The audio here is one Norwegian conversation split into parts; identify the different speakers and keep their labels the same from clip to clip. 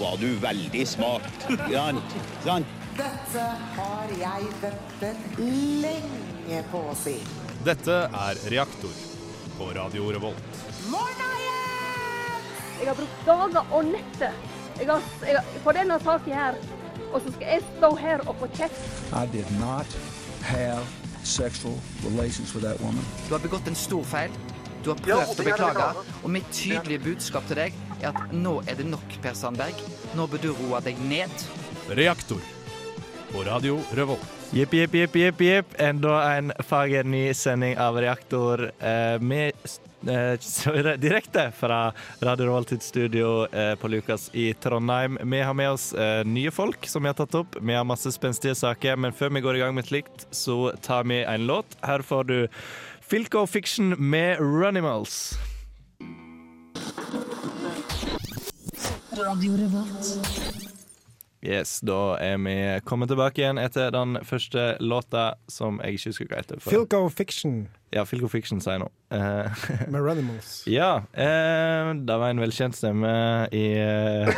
Speaker 1: var du veldig smart. Sant? Sant?
Speaker 2: Dette har jeg ventet lenge på å si.
Speaker 3: Dette er Reaktor på Radio Revolt.
Speaker 2: Morna igjen!
Speaker 4: Jeg har brukt dager og netter jeg har, jeg har, på denne saken her. Og så skal jeg stå her og få kjeft.
Speaker 5: I did not have sexual relations with that woman.
Speaker 6: Du har begått en stor feil. Du har prøvd å beklage. Og mitt tydelige budskap til deg er at nå er det nok, Per Sandberg. Nå bør du roe deg ned.
Speaker 3: Reaktor på Radio Revolt.
Speaker 7: Jepp, jepp, jepp, jepp, jepp. Enda en fager ny sending av Reaktor eh, med eh, s- direkte fra Radio Revolt sitt studio eh, på Lukas i Trondheim. Vi har med oss eh, nye folk som vi har tatt opp. Vi har masse spenstige saker, men før vi går i gang med slikt, så tar vi en låt. Her får du Filco Fiction med Runimals. Yes, da er vi kommet tilbake igjen etter den første låta som jeg ikke husker hva heter. for-
Speaker 8: Filco Fiction
Speaker 7: Ja, Filco Fiction, sier jeg nå. Eh,
Speaker 8: med Runimals.
Speaker 7: Ja, eh, det var en velkjent stemme i eh,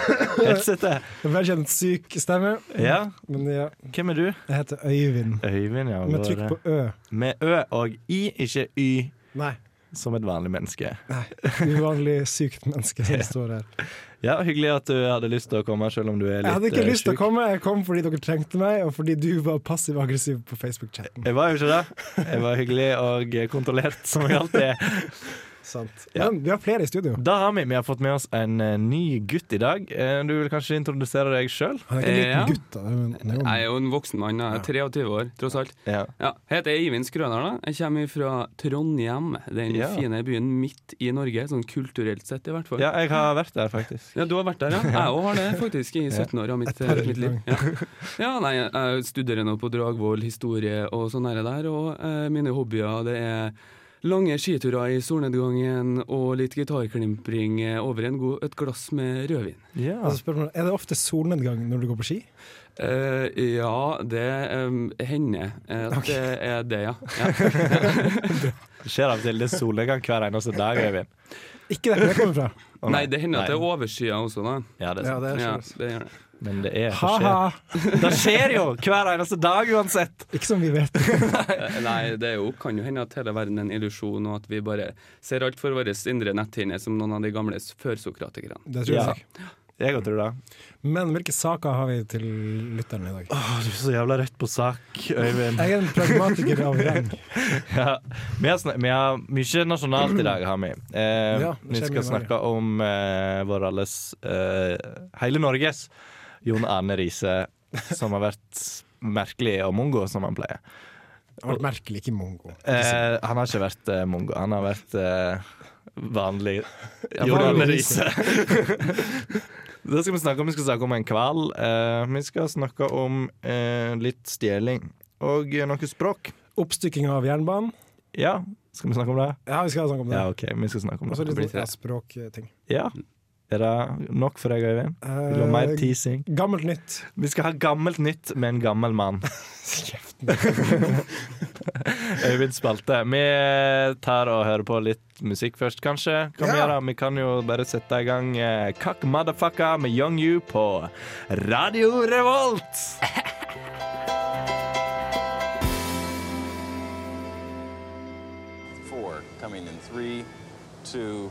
Speaker 7: headsetet.
Speaker 8: Velkjent syk stemme.
Speaker 7: Ja,
Speaker 8: Men ja,
Speaker 7: hvem er du?
Speaker 8: jeg heter Øyvind.
Speaker 7: Øyvind, ja.
Speaker 8: Med trykk på Ø.
Speaker 7: Med Ø og I, ikke Y,
Speaker 8: Nei.
Speaker 7: som et vanlig menneske.
Speaker 8: nei. Uvanlig sykt menneske som står her.
Speaker 7: Ja, Hyggelig at du hadde lyst til å komme, selv om du er litt
Speaker 8: Jeg hadde ikke
Speaker 7: eh,
Speaker 8: lyst til å
Speaker 7: syk.
Speaker 8: komme, jeg kom fordi dere trengte meg, og fordi du var passiv-aggressiv på Facebook-chatten.
Speaker 7: Jeg var jo ikke det. Jeg var hyggelig og kontrollert, som jeg alltid er.
Speaker 8: Sant.
Speaker 7: Ja.
Speaker 8: Men vi har flere i studio.
Speaker 7: Da har vi, vi har fått med oss en eh, ny gutt i dag. Eh, Du vil kanskje introdusere deg sjøl?
Speaker 8: Han er ikke en
Speaker 9: Eh, ja.
Speaker 8: liten gutt, da. men han er jo-
Speaker 9: Jeg er jo en voksen mann, jeg er 23 år, tross alt.
Speaker 7: Ja.
Speaker 9: Ja, heter Eivind Skrønarna. Jeg kommer fra Trondheim, den
Speaker 7: Ja.
Speaker 9: fine byen midt i Norge, sånn kulturelt sett i hvert fall.
Speaker 7: ja, jeg har vært der, faktisk.
Speaker 9: Ja, du har vært der, ja. Jeg òg har det, faktisk, i 17 år av mitt, eh, mitt liv. Ja. ja, nei, jeg studerer nå på Dragvoll historie og sånn her der, og eh, mine hobbyer det er lange skiturer i solnedgangen og litt gitarklimpring eh, over en god, et glass med rødvin.
Speaker 7: Ja.
Speaker 8: Altså, spørsmålet, er det ofte solnedgang når du går på ski?
Speaker 9: Eh, ja, det eh, hender eh, at det er det, ja. ja.
Speaker 7: Det skjer av og til. Det er solnedgang hver eneste dag, Øyvind.
Speaker 8: Ikke der hvor jeg kommer fra.
Speaker 7: Å,
Speaker 9: Nei, det hender at det
Speaker 7: Nei.
Speaker 9: er overskya også, da.
Speaker 7: Ja, det er sant.
Speaker 8: det
Speaker 9: Ja, det gjør det.
Speaker 7: Men det er det skjer.
Speaker 8: Ha-ha!
Speaker 7: Det skjer jo hver eneste dag uansett.
Speaker 8: Ikke som vi vet.
Speaker 9: Eh, Nei, det er jo, kan jo hende at hele verden er en illusjon, og at vi bare ser alt for vår indre netthinne som noen av de gamle førsokratikerne.
Speaker 8: Det tror jeg
Speaker 7: Ja.
Speaker 8: ikke.
Speaker 7: Jeg òg tror det.
Speaker 8: Men hvilke saker har vi til lytterne i dag?
Speaker 7: Å, du er så jævla rett på sak, Øyvind.
Speaker 8: Jeg er en pragmatiker av rang.
Speaker 7: Ja. Vi, har snak- vi har mye nasjonalt i dag, har vi. Eh,
Speaker 8: Ja, det
Speaker 7: vi
Speaker 8: skjer
Speaker 7: skal
Speaker 8: mye
Speaker 7: snakke om eh, vår alles eh, Hele Norges Jon Arne Riise, som har vært merkelig og mongo, som han pleier.
Speaker 8: Det var merkelig, ikke mongo.
Speaker 7: Eh, han har ikke vært eh, mongo. Han har vært eh, vanlig
Speaker 8: vanlig
Speaker 7: Jordan
Speaker 8: Riise.
Speaker 7: Riise. Det skal vi snakke om. Vi skal snakke om en hval. Eh, vi skal snakke om eh, litt stjeling. Og eh, noe språk.
Speaker 8: Oppstykking av jernbanen.
Speaker 7: Ja, skal vi snakke om det?
Speaker 8: Ja, vi skal snakke om det.
Speaker 7: Ja, OK. Vi skal snakke om
Speaker 8: Og så
Speaker 7: det.
Speaker 8: litt
Speaker 7: Det blir-
Speaker 8: sånn, ja, språkting.
Speaker 7: Ja. Er det nok for deg, Øyvind? Vil du ha mer
Speaker 8: Eh,
Speaker 7: teasing?
Speaker 8: Gammelt nytt.
Speaker 7: Vi skal ha gammelt nytt med en gammel mann. Øyvind Spalte. Vi tar og hører på litt musikk først, kanskje. Kan vi,
Speaker 8: Ja.
Speaker 7: gjøre? vi kan jo bare sette i gang eh, Kakk Motherfucka med Young You på Radio Revolt.
Speaker 10: four, coming in three, two,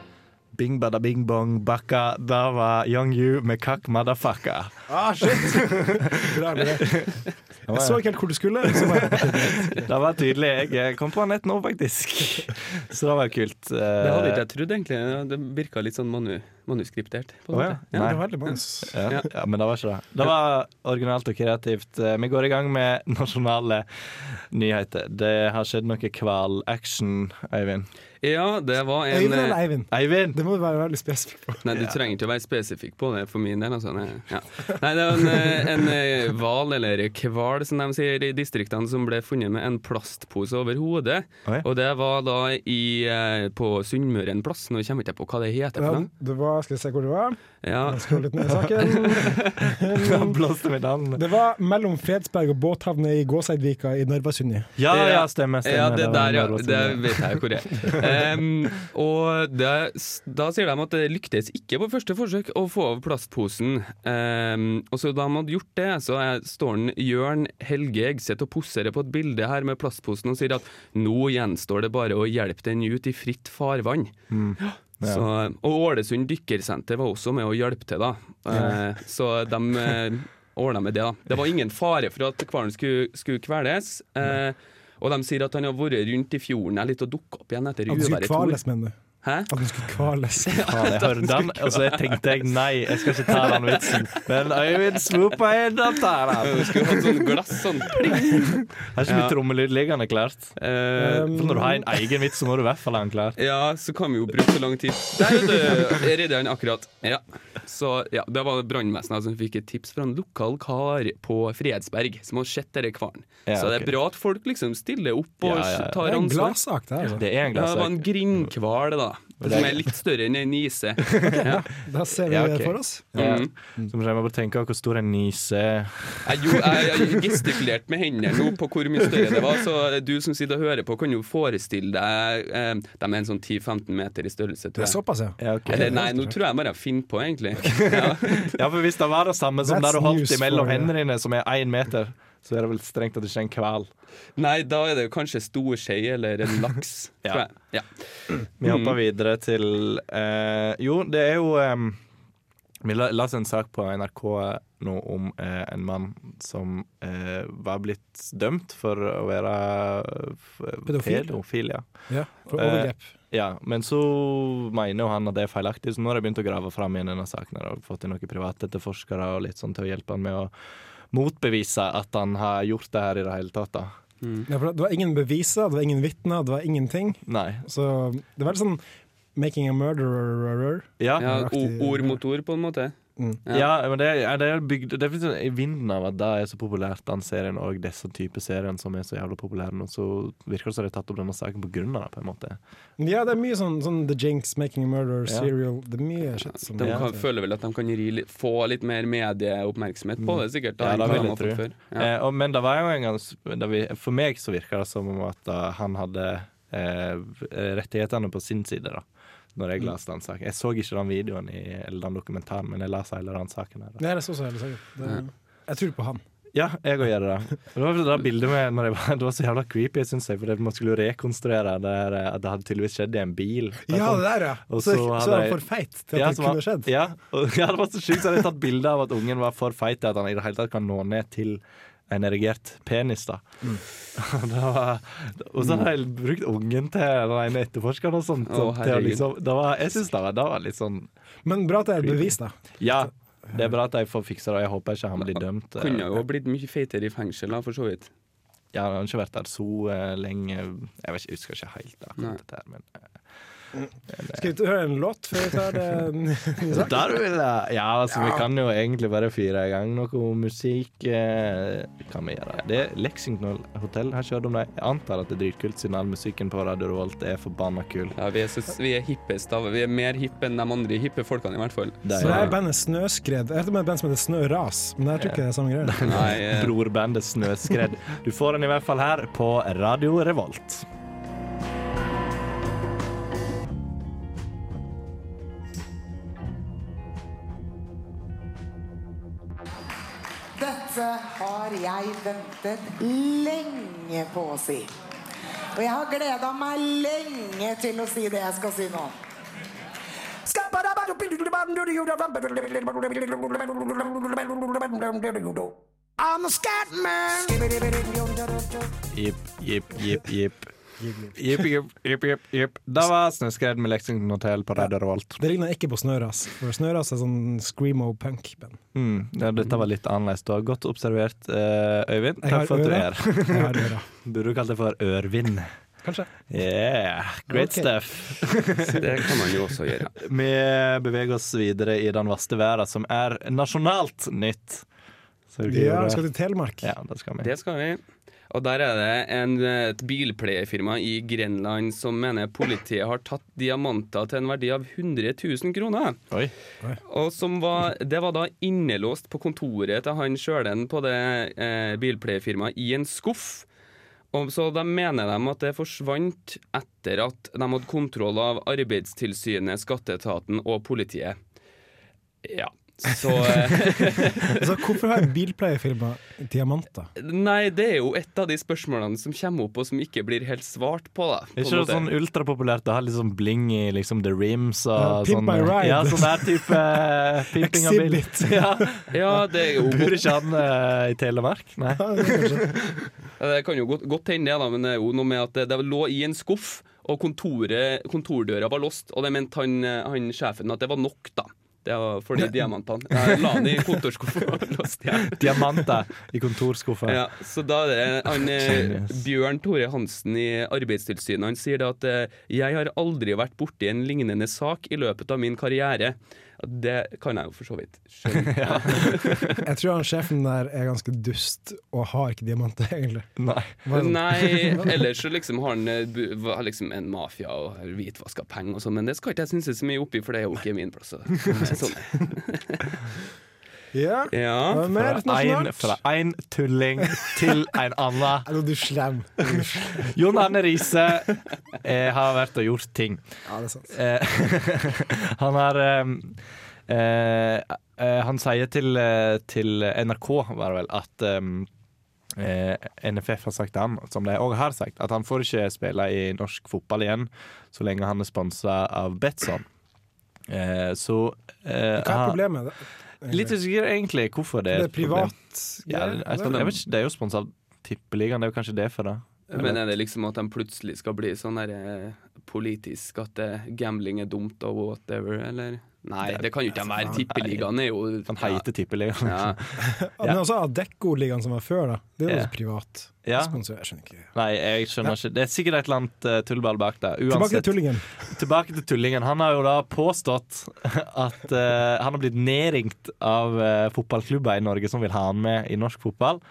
Speaker 7: Bing bada bing bong bakka, da var Young You med Kakk Motherfucka.
Speaker 8: Ah, shit! Bra med det. Jeg så ikke helt hvor du skulle. Så bare,
Speaker 7: Det var tydelig. Jeg eh, kom på nett nå, faktisk. Så det var kult. eh,
Speaker 9: Det hadde ikke jeg trodd, egentlig. Det virka litt sånn manu. manuskriptert. På en
Speaker 7: Å, ja.
Speaker 9: måte.
Speaker 8: Det
Speaker 7: Nei.
Speaker 8: var veldig mange. ass.
Speaker 7: Ja, ja, men det var ikke det. Det var originalt og kreativt. Eh, Vi går i gang med nasjonale nyheter. Det har skjedd noe kvalaction, Eivind.
Speaker 9: ja, det var en
Speaker 8: Øyvind eller
Speaker 9: eh,
Speaker 8: Eivind?
Speaker 7: Eivind!
Speaker 8: Det må du være veldig spesifikk på.
Speaker 9: Nei, du trenger ikke å være spesifikk på det for min del. Altså. Nei, ja. Nei, det var en, eh, en eh, hval, eller kval som de sier i distriktene, som ble funnet med en plastpose over hodet.
Speaker 7: Oi.
Speaker 9: Og det var da i, eh, på Sunnmøre en plass, nå kommer jeg ikke på hva det
Speaker 8: Ja,
Speaker 9: heter. for noe.
Speaker 8: det var, skal vi se hvor det var.
Speaker 9: Ja,
Speaker 8: Skål litt ned i saken.
Speaker 7: Han blåste mitt navn.
Speaker 8: Det var mellom Fredsberg og båthavna i Gåseidvika i Narvasundni.
Speaker 7: Ja, ja, stemmer. stemmer.
Speaker 9: Ja, det
Speaker 7: var
Speaker 9: der, ja.
Speaker 7: Norvald
Speaker 9: Det
Speaker 7: Sundby.
Speaker 9: vet jeg hvor det er. Em, og det, da sier de at det lyktes ikke på første forsøk å få av plastposen. Em, og så da de hadde gjort det, så er- står den Jørn Helge Egseth og poserer på et bilde her med plastposen og sier at nå gjenstår det bare å hjelpe den ut i fritt farvann. Så, og Ålesund dykkersenter var også med å hjelpe til, da. Eh, så de eh, ordna med det, da. Det var ingen fare for at hvalen skulle, skulle kveles. Eh, og de sier at han har vært rundt i fjorden her litt og dukka opp igjen etter
Speaker 8: At den skulle
Speaker 9: uværet
Speaker 8: kvales,
Speaker 9: Tor.
Speaker 8: mener du?
Speaker 9: Hæ?
Speaker 8: At den skulle kvales.
Speaker 7: Faen, jeg hørte den, og så tenkte jeg nei, jeg skal ikke ta den vitsen. Men Øyvind slo på en og tar den.
Speaker 9: Du skulle hatt sånn glass sånn. Pling.
Speaker 7: Har ikke mye trommelyd liggende klart.
Speaker 9: Eh,
Speaker 7: For når du har en egen vits, så må du i hvert fall ha den klar.
Speaker 9: ja, så kan vi jo bruke så lang tid. Der vet du, redder han akkurat. Ja. Så ja, Det var brannvesenet som fikk et tips fra en lokal kar på Fredsberg som har sett denne hvalen.
Speaker 7: Ja,
Speaker 9: så det er
Speaker 7: ok.
Speaker 9: bra at folk liksom stiller opp og
Speaker 7: Ja, ja, ja.
Speaker 8: Det
Speaker 9: tar
Speaker 8: er en
Speaker 9: ansvar.
Speaker 8: gladsak, det her. Altså.
Speaker 7: Det er en
Speaker 9: Ja, det var en
Speaker 7: glassak.
Speaker 9: grindhval, da. Som er litt større enn en nise. Ja.
Speaker 8: Da ser vi
Speaker 7: Ja,
Speaker 8: det
Speaker 7: ok.
Speaker 8: for oss.
Speaker 7: Ja. Så må jeg bare tenke hvor stor en nise er.
Speaker 9: Jeg, jo, jeg, jeg gestikulerte med hendene nå på hvor mye større det var, så du som sitter og hører på, kan jo forestille deg eh, De er en sånn 10-15 meter i størrelse,
Speaker 8: Det
Speaker 9: tror
Speaker 8: er
Speaker 9: jeg.
Speaker 8: såpass, ja.
Speaker 7: Ja, ok.
Speaker 9: Eller nei, nå tror jeg bare jeg finner på, egentlig. Ja.
Speaker 7: Ja, for hvis det var det samme som
Speaker 8: That's
Speaker 7: det du holdt
Speaker 8: news
Speaker 7: imellom
Speaker 8: for-
Speaker 7: hendene dine, som er én meter, så er det vel strengt at det ikke er en hval.
Speaker 9: Nei, da er det jo kanskje storskei eller en laks,
Speaker 7: Ja.
Speaker 9: tror jeg. Ja.
Speaker 7: Vi hopper videre til eh, Jo, det er jo eh, Vi la- leste en sak på NRK nå om eh, en mann som eh, var blitt dømt for å være f-
Speaker 8: Pedofil?
Speaker 7: pedofil ja.
Speaker 8: ja for
Speaker 7: Eh,
Speaker 8: overgrep.
Speaker 7: Ja, men så mener jo han at det er feilaktig, så nå har jeg begynt å grave fram igjen denne saken her, og fått inn noen private etterforskere og litt sånn til å hjelpe han med å motbevise at han har gjort det her i det hele tatt. da.
Speaker 8: Ja, for det var ingen beviser, det var ingen vitner, det var ingenting.
Speaker 7: Nei.
Speaker 8: Så det var litt sånn making a murderer.
Speaker 7: Ja,
Speaker 9: ja
Speaker 7: ja.
Speaker 9: o- ord mot ord, på en måte.
Speaker 7: men det, er- det er bygd Det er litt sånn i vinden av at det er så populært, den serien og disse typer serier som er så jævla populære nå, så virker det som de har tatt opp denne saken på grunn av det, på en måte.
Speaker 8: Ja, det er mye sånn, sånn The Jinx, Making a Murderer,
Speaker 7: Ja.
Speaker 8: Serial. Det er mye shit som
Speaker 9: De kan, føler vel at de kan gi, litt- få litt mer medieoppmerksomhet
Speaker 8: Mm.
Speaker 9: på det, sikkert. Da,
Speaker 7: Ja, det
Speaker 9: enn hva
Speaker 7: vil
Speaker 9: de
Speaker 7: jeg
Speaker 9: har fått
Speaker 7: tro.
Speaker 9: før. Ja.
Speaker 7: Eh, og, men det var jo en gang s- det vi, For meg så virka det som om at eh, han hadde eh, rettighetene på sin side, da. Når jeg leste den saken. Jeg så ikke den videoen i, eller den dokumentaren, men jeg leste hele den saken. her da.
Speaker 8: Nei, det er så så jævlig sikkert. Det, jeg tror på han.
Speaker 7: Ja, jeg òg gjør det. da. Det var vel det bildet med når jeg var, Det var så jævla creepy, syns jeg, fordi man skulle jo rekonstruere det her, eh, at det hadde tydeligvis skjedd i en bil.
Speaker 8: Ja, det der, ja!
Speaker 7: Og
Speaker 8: Så,
Speaker 7: så
Speaker 8: så
Speaker 7: hadde
Speaker 8: er
Speaker 7: jeg-
Speaker 8: han for feit til at
Speaker 7: Ja,
Speaker 8: det
Speaker 7: så var-
Speaker 8: kunne skjedd.
Speaker 7: Ja, og, ja, det var så sjukt. Så hadde jeg tatt bilde av at ungen var for feit til at han i det hele tatt kan nå ned til en erigert penis. da.
Speaker 8: Mm.
Speaker 7: Det var, og så hadde jeg brukt ungen til den ene etterforskeren og sånt.
Speaker 9: Å,
Speaker 7: til å
Speaker 9: herregud.
Speaker 7: liksom, det var, jeg syns det, var- det var litt sånn
Speaker 8: Men bra at det er et bevis, da.
Speaker 7: Ja, det er bra at jeg får fiksa det, og jeg håper ikke han blir dømt. eh,
Speaker 9: Kunne jo ha blitt mye feitere i fengsel, da, for så vidt.
Speaker 7: Ja, han har ikke vært der så eh, lenge. Jeg, vet ikke, jeg husker ikke helt
Speaker 9: Nei.
Speaker 7: akkurat dette her, men
Speaker 8: Skal vi høre en låt før vi tar det?
Speaker 7: Så Der vil jeg Ja, altså, vi kan jo egentlig bare fyre i gang noe musikk. Eh, kan vi gjøre det? Lexington Hotel har kjørt om det. Jeg antar at det er dritkult, siden all musikken på Radio Revolt er forbanna kul.
Speaker 9: Ja, vi er, så, vi er hippest av Vi er mer hippe enn de andre hippe folkene, i hvert fall.
Speaker 7: Det
Speaker 8: Så det
Speaker 7: er
Speaker 8: er bandet Snøskred. Jeg hørte om et band som heter Snøras, men jeg tror ikke det er samme greia.
Speaker 9: Nei, eh,
Speaker 7: brorbandet Snøskred. Du får den i hvert fall her på Radio Revolt.
Speaker 2: Dette har jeg ventet lenge på å si. Og jeg har gleda meg lenge til å si det jeg skal si nå. I'm a scat man.
Speaker 7: Jipp, jipp, jipp, jipp. Jipp, jipp, jipp, jipp, jipp. Det var Snøskred med Lexington Hotel på Radio Revolt.
Speaker 11: Det ligner ikke på Snøras. For Snøras er sånn screamo-punk-band.
Speaker 7: Mm. Ja, dette var litt annerledes. Du har godt observert, eh, Øyvind.
Speaker 11: Jeg har
Speaker 7: Takk for at du
Speaker 11: ører.
Speaker 7: er
Speaker 11: Jeg har
Speaker 7: her.
Speaker 11: ører.
Speaker 7: Burde du kalt det for Ørvin?
Speaker 11: Kanskje.
Speaker 7: Yeah, great
Speaker 11: Ok.
Speaker 7: stuff.
Speaker 9: Det kan man jo også gjøre.
Speaker 7: Eh, Vi beveger oss videre i den vaste verden, som er nasjonalt nytt. Så det
Speaker 11: Ja,
Speaker 7: gjør
Speaker 11: vi
Speaker 7: det.
Speaker 11: skal til Telemark.
Speaker 7: Ja, det skal vi.
Speaker 9: Det skal vi. Og der er det en, eh, et bilpleiefirma i Grenland som mener politiet har tatt diamanter til en verdi av 100 000 kroner.
Speaker 7: Oi.
Speaker 9: Og som var, det var da innelåst på kontoret til han sjølen på det eh, bilpleiefirmaet i en skuff. Og så de mener de at det forsvant etter at de hadde kontroll av Arbeidstilsynet, Skatteetaten og politiet. Ja, så eh,
Speaker 11: Så Altså, hvorfor har bilpleiefirma diamanter?
Speaker 9: Nei, det er jo et av de spørsmålene som kommer opp, og som ikke blir helt svart på. da på
Speaker 7: Det er ikke det sånn ultrapopulært å ha litt sånn bling i liksom the rims
Speaker 9: Ja,
Speaker 7: og
Speaker 9: Pimp
Speaker 7: sånn
Speaker 9: My Ride.
Speaker 7: Ja, sånn der type eh, pimping av bil.
Speaker 9: Exhibit.
Speaker 7: Ja.
Speaker 9: Ja, det er jo
Speaker 7: Bor ikke han eh, i Telemark? Nei.
Speaker 9: Ja, Det kan jo godt, godt hende, det, da, men det er jo noe med at det, det lå i en skuff, og kontoret, kontordøra var låst, og det mente han, han sjefen at det var nok, da. Det var for de diamantene. Jeg la den i kontorskuffa og låste igjen.
Speaker 7: Diamanter i kontorskuffa.
Speaker 9: Ja, så da er det han, eh,
Speaker 7: Genius.
Speaker 9: Bjørn Tore Hansen i Arbeidstilsynet han sier det at eh, jeg har aldri vært borti en lignende sak i løpet av min karriere. Det kan jeg jo for så vidt skjønne.
Speaker 11: Jeg tror han sjefen der er ganske dust og har ikke diamanter, egentlig.
Speaker 7: Nei.
Speaker 9: Nei, ellers så liksom har han eh, bu- var liksom en mafia og har hvitvaska penger og sånn, men det skal ikke jeg synes så mye oppi, for det er jo ikke min plass. så- Sånn.
Speaker 11: Ja.
Speaker 9: Ja.
Speaker 11: Hva er mer
Speaker 7: Fra en-
Speaker 11: nasjonalt?
Speaker 7: Fra én tulling til en annen.
Speaker 11: Nå er du slem.
Speaker 7: Jon Arne Riise eh, har vært og gjort ting.
Speaker 11: Ja, det er sant.
Speaker 7: Eh, han har eh, eh, eh, Han sier til, eh, til NRK, var det vel, at ehm, eh, eh, NFF har sagt til ham, som de òg har sagt, at han får ikke spille i norsk fotball igjen så lenge han er sponsa av Betson. Eh, så eh,
Speaker 11: Hva er
Speaker 7: han-
Speaker 11: problemet? med det?
Speaker 7: Litt usikker egentlig hvorfor det er
Speaker 11: Det er
Speaker 7: et problem.
Speaker 11: privat
Speaker 7: Ja,
Speaker 11: greier,
Speaker 7: jeg, jeg,
Speaker 11: eller?
Speaker 7: vet ikke, det er jo sponsa av Tippeligaen, det er jo kanskje det for det.
Speaker 9: Men er det liksom at de plutselig skal bli sånn der eh, politisk at eh, gambling er dumt og whatever, eller? Nei, det kan jo ikke de være. Tippeligaen er jo
Speaker 7: Han heter Tippeligaen.
Speaker 9: Ja.
Speaker 11: Men også Adecco-ligaen som var før, da. Det er jo
Speaker 7: Ja.
Speaker 11: også privat.
Speaker 7: Ja.
Speaker 11: Sponsor, jeg skjønner ikke.
Speaker 7: Nei, jeg skjønner ikke. Det er sikkert et eller annet eh, tullball bak det.
Speaker 11: Tilbake til
Speaker 7: Uansett.
Speaker 11: tullingen.
Speaker 7: Tilbake til tullingen. Han har jo da påstått at eh, han har blitt nedringt av eh, fotballklubber i Norge som vil ha han med i norsk fotball.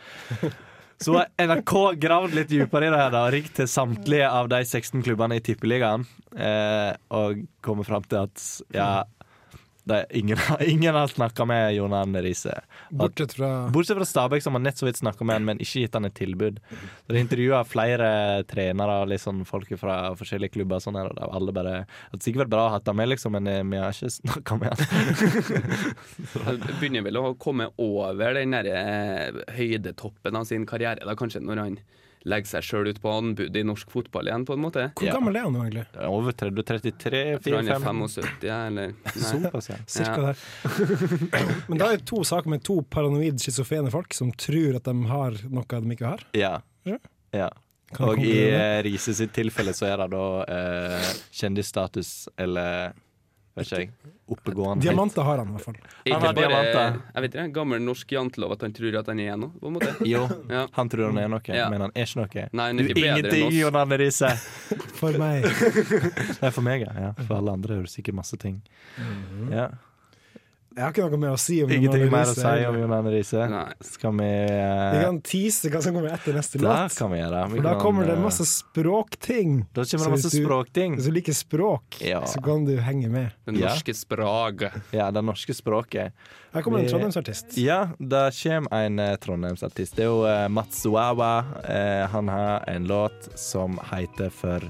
Speaker 7: Så har NRK gravd litt dypere i det her da, og ringt til samtlige av de 16 klubbene i Tippeligaen eh, og kommet fram til at ja, det er ingen, ingen har snakka med Jon Arne Riise. Og at-
Speaker 11: Bortsett fra
Speaker 7: Bortsett fra Stabæk, som har nett så vidt snakka med han, men ikke gitt han et tilbud. Så De intervjua flere trenere og litt sånn folk fra forskjellige klubber, og sånn her, og det var alle bare Det er sikkert bra å ha hatt han med, liksom, men eh, vi har ikke snakka med han.
Speaker 9: Han begynner vel å komme over den der eh, høydetoppen av sin karriere, da kanskje når han legger seg sjøl ut på anbud i norsk fotball igjen, på en måte.
Speaker 11: Hvor gammel er han nå, egentlig?
Speaker 7: Over 30, 33,
Speaker 9: Jeg tror han er 75, ja, eller
Speaker 7: Såpass, ja.
Speaker 11: Cirka der. Men det er jo to saker med to paranoid schizofrene folk som tror at de har noe de ikke har.
Speaker 7: Ja.
Speaker 11: Ja.
Speaker 7: ja.
Speaker 11: Kan jeg
Speaker 7: Og i
Speaker 11: konkludere?
Speaker 7: eh, Riise sitt tilfelle så er det da eh, kjendisstatus eller Vet ikke jeg. Oppegående.
Speaker 11: Diamanter har han i hvert fall.
Speaker 7: Han har diamanter.
Speaker 9: Jeg vet ikke, gammel norsk jantelov at han tror at han er noe, på en måte.
Speaker 7: Jo,
Speaker 9: Ja.
Speaker 7: han tror han er noe,
Speaker 9: Ja.
Speaker 7: men han er ikke noe.
Speaker 9: Nei, han
Speaker 7: du
Speaker 9: er
Speaker 7: er
Speaker 9: ikke bedre enn
Speaker 7: ingenting,
Speaker 9: oss.
Speaker 7: Jon Arne Riise.
Speaker 11: For meg.
Speaker 7: Nei, for meg, ja. ja. For alle andre er det sikkert masse ting. Ja.
Speaker 11: Jeg har ikke noe mer å si Mhm. om
Speaker 7: Ingenting
Speaker 11: Jon Arne
Speaker 7: mer å
Speaker 11: Riise,
Speaker 7: si om
Speaker 11: egentlig.
Speaker 7: Jon Arne Riise. Skal vi
Speaker 11: Vi
Speaker 7: eh,
Speaker 11: kan tease hva som kommer etter neste
Speaker 7: Det
Speaker 11: låt.
Speaker 7: kan vi gjøre. Vi
Speaker 11: For da
Speaker 7: kan,
Speaker 11: kommer det
Speaker 7: eh,
Speaker 11: masse språkting.
Speaker 7: Da kommer det
Speaker 11: Så hvis
Speaker 7: masse
Speaker 11: du-
Speaker 7: språkting.
Speaker 11: Hvis du liker språk,
Speaker 7: Ja.
Speaker 11: så kan du henge med.
Speaker 9: Det norske språket.
Speaker 7: Ja, det norske språket.
Speaker 11: Her kommer en
Speaker 7: Vi-
Speaker 11: trondheimsartist.
Speaker 7: Ja, det kommer en eh, trondheimsartist. Det er jo eh, Mats Wawa. Eh, han har en låt som heter for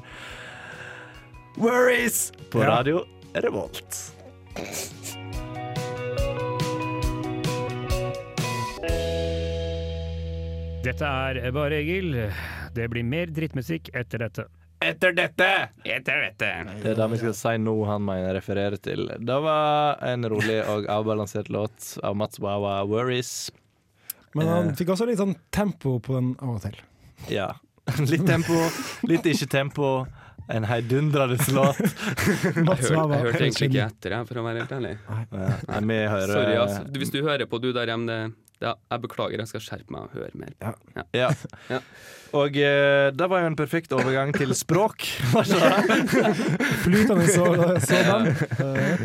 Speaker 7: Worries på
Speaker 11: Ja.
Speaker 7: radio Revolt.
Speaker 10: Dette er Bare Egil. Det blir mer drittmusikk etter dette.
Speaker 7: Etter dette!
Speaker 10: Etter dette!
Speaker 7: Det er det vi skal si nå han mener refererer til. Det var en rolig og avbalansert låt av Mats Wawa, 'Worries'.
Speaker 11: Men
Speaker 7: Eh.
Speaker 11: han fikk også litt sånn tempo på den av og til.
Speaker 7: Ja. Litt tempo, litt ikke tempo. En heidundrende låt.
Speaker 9: Jeg hørte, jeg hørte egentlig ikke etter, jeg, for å være helt ærlig.
Speaker 7: Nei, vi hører
Speaker 9: Sorry, altså. Du- Hvis du hører på, du der hjemme, det, det, jeg beklager, jeg skal skjerpe meg og høre mer. Ja.
Speaker 7: Ja. Og eh, det var jo en perfekt overgang til språk, var ikke det?
Speaker 11: Flytende så- sådan.